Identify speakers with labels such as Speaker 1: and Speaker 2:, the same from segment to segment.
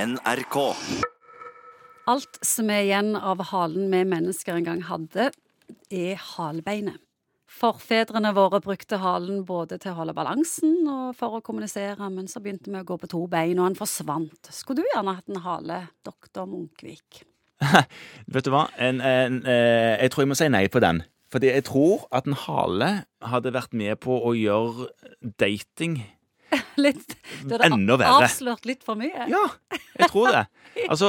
Speaker 1: NRK.
Speaker 2: Alt som er igjen av halen vi mennesker en gang hadde, er halbeinet. Forfedrene våre brukte halen både til å holde balansen og for å kommunisere, men så begynte vi å gå på to bein, og han forsvant. Skulle du gjerne hatt en hale, doktor Munkvik?
Speaker 3: Vet du hva? En, en, eh, jeg tror jeg må si nei på den. Fordi jeg tror at en hale hadde vært med på å gjøre dating
Speaker 2: Litt, du hadde
Speaker 3: Enda verre.
Speaker 2: avslørt litt for mye.
Speaker 3: Ja, jeg tror det. Altså,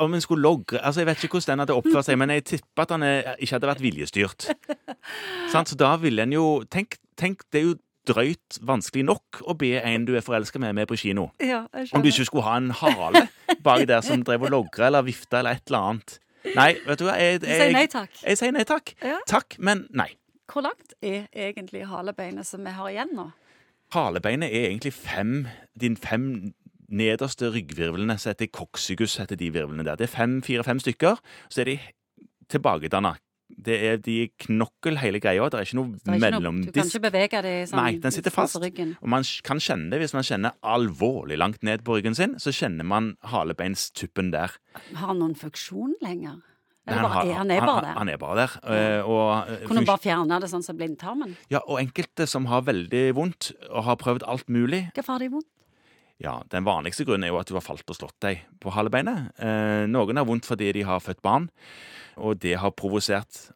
Speaker 3: om en skulle logre Altså, Jeg vet ikke hvordan den hadde oppført seg, men jeg tipper at han eh, ikke hadde vært viljestyrt. Sant? Så da ville en jo tenk, tenk, det er jo drøyt vanskelig nok å be en du er forelska med, med på kino.
Speaker 2: Ja, jeg
Speaker 3: Om
Speaker 2: skjønner.
Speaker 3: du ikke skulle ha en hale bak der som drev og logra eller vifta eller et eller annet. Nei, vet du hva jeg,
Speaker 2: Du
Speaker 3: jeg,
Speaker 2: sier nei
Speaker 3: jeg,
Speaker 2: takk.
Speaker 3: sier nei takk.
Speaker 2: Ja.
Speaker 3: Takk, men nei.
Speaker 2: Hvor langt er egentlig halebeinet som vi har igjen nå?
Speaker 3: Halebeinet er egentlig fem Din fem nederste ryggvirvlene som heter coccygus, heter de virvlene der. Det er fem, fire-fem stykker, så er de tilbakedanna. Det er de er knokkel hele greia. Det er
Speaker 2: Det
Speaker 3: ikke noe
Speaker 2: er ikke noe- du kan
Speaker 3: mellomdisk.
Speaker 2: ikke bevege det i sånn
Speaker 3: Nei, den sitter fast.
Speaker 2: på ryggen.
Speaker 3: Og man kan kjenne det hvis man kjenner alvorlig langt ned på ryggen sin, så kjenner man halebeinstuppen der.
Speaker 2: Har han noen funksjon lenger? Eller
Speaker 3: har-
Speaker 2: bare, er han er bare
Speaker 3: han,
Speaker 2: der?
Speaker 3: han er bare der. eh, Og, eh,
Speaker 2: Kunne
Speaker 3: funksjon-
Speaker 2: hun bare fjerne det sånn som blindtarmen?
Speaker 3: ja, og enkelte som har veldig vondt og har prøvd alt mulig,
Speaker 2: Hvorfor har de vondt?
Speaker 3: Ja, Den vanligste grunnen er jo at du har falt og slått deg på halebeinet. Eh, noen har vondt fordi de har født barn, og det har provosert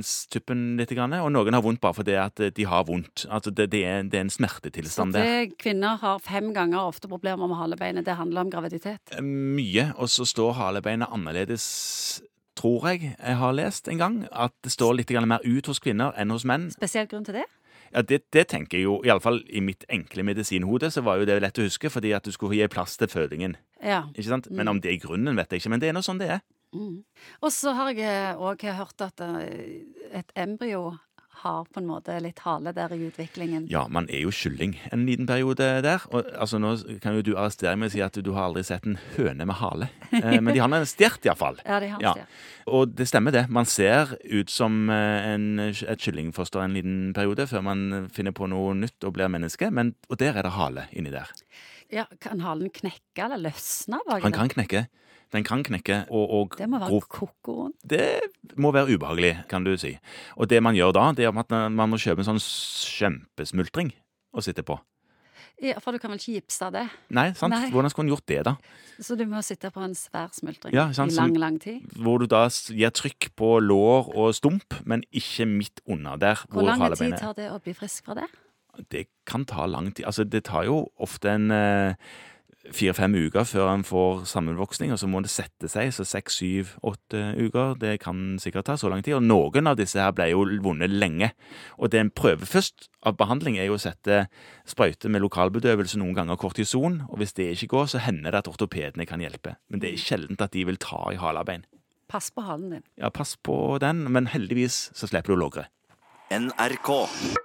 Speaker 3: halebeinstuppen litt. Grann, og noen har vondt bare fordi at eh, de har vondt. Altså Det, det, er, det er en
Speaker 2: Så
Speaker 3: smertetilstand der.
Speaker 2: det eh, kvinner har fem ganger ofte problemer med halebeinet. Det handler om graviditet.
Speaker 3: Eh, Mye. Og så står halebeinet annerledes, tror jeg jeg har lest en gang. At det står litt grann mer ut hos kvinner enn hos menn.
Speaker 2: Spesielt grunn til det?
Speaker 3: Ja, det, det tenker jeg jo, iallfall i mitt enkle medisinhode, så var jo det lett å huske, fordi at du skulle gi plass til fødingen.
Speaker 2: Ja.
Speaker 3: Ikke sant? Men om det er grunnen, vet jeg ikke. Men det er nå sånn det er.
Speaker 2: Mm. Og så har jeg òg hørt at eh, et embryo har på en måte litt hale der i utviklingen.
Speaker 3: Ja, man er jo kylling en liten periode der. Og, altså, nå kan jo du arrestere meg og si at du har aldri sett en høne med hale. Eh, men de har nå en stjert, iallfall.
Speaker 2: Ja, de har
Speaker 3: Ja.
Speaker 2: det.
Speaker 3: Og det stemmer, det. Man ser ut som eh, en, et kyllingfoster en liten periode før man finner på noe nytt og blir menneske. Men, og der er det hale inni der.
Speaker 2: Ja, kan halen knekke eller løsne bak
Speaker 3: Han
Speaker 2: der?
Speaker 3: kan knekke. Den kan knekke og, og
Speaker 2: Det må være
Speaker 3: gro-
Speaker 2: kokoen.
Speaker 3: det må være ubehagelig, kan du si. Og det man gjør da, det er at man må kjøpe en sånn kjempesmultring å sitte på.
Speaker 2: Ja, for du kan vel ikke gipse det?
Speaker 3: Nei, sant?
Speaker 2: Nei.
Speaker 3: Hvordan skulle hun gjort det, da?
Speaker 2: Så du må sitte på en svær smultring
Speaker 3: Ja, sant,
Speaker 2: i
Speaker 3: som-
Speaker 2: lang, lang tid?
Speaker 3: hvor du da s- gir trykk på lår og stump, men ikke midt under der.
Speaker 2: Hvor lang tid
Speaker 3: halebeinet-
Speaker 2: tar det å bli frisk fra det?
Speaker 3: Det kan ta lang tid. Altså, det tar jo ofte en eh, fire-fem uker før en får sammenvoksning, og så må det sette seg, så seks, syv, åtte uker. Det kan sikkert ta så lang tid. Og noen av disse her ble jo vunnet lenge. Og det en prøver først av behandling, er jo å sette sprøyte med lokalbedøvelse, noen ganger kortison. Og hvis det ikke går, så hender det at ortopedene kan hjelpe. Men det er sjeldent at de vil ta i halebein.
Speaker 2: Pass på halen din.
Speaker 3: Ja, pass på den, men heldigvis så slipper du å logre.
Speaker 1: NRK.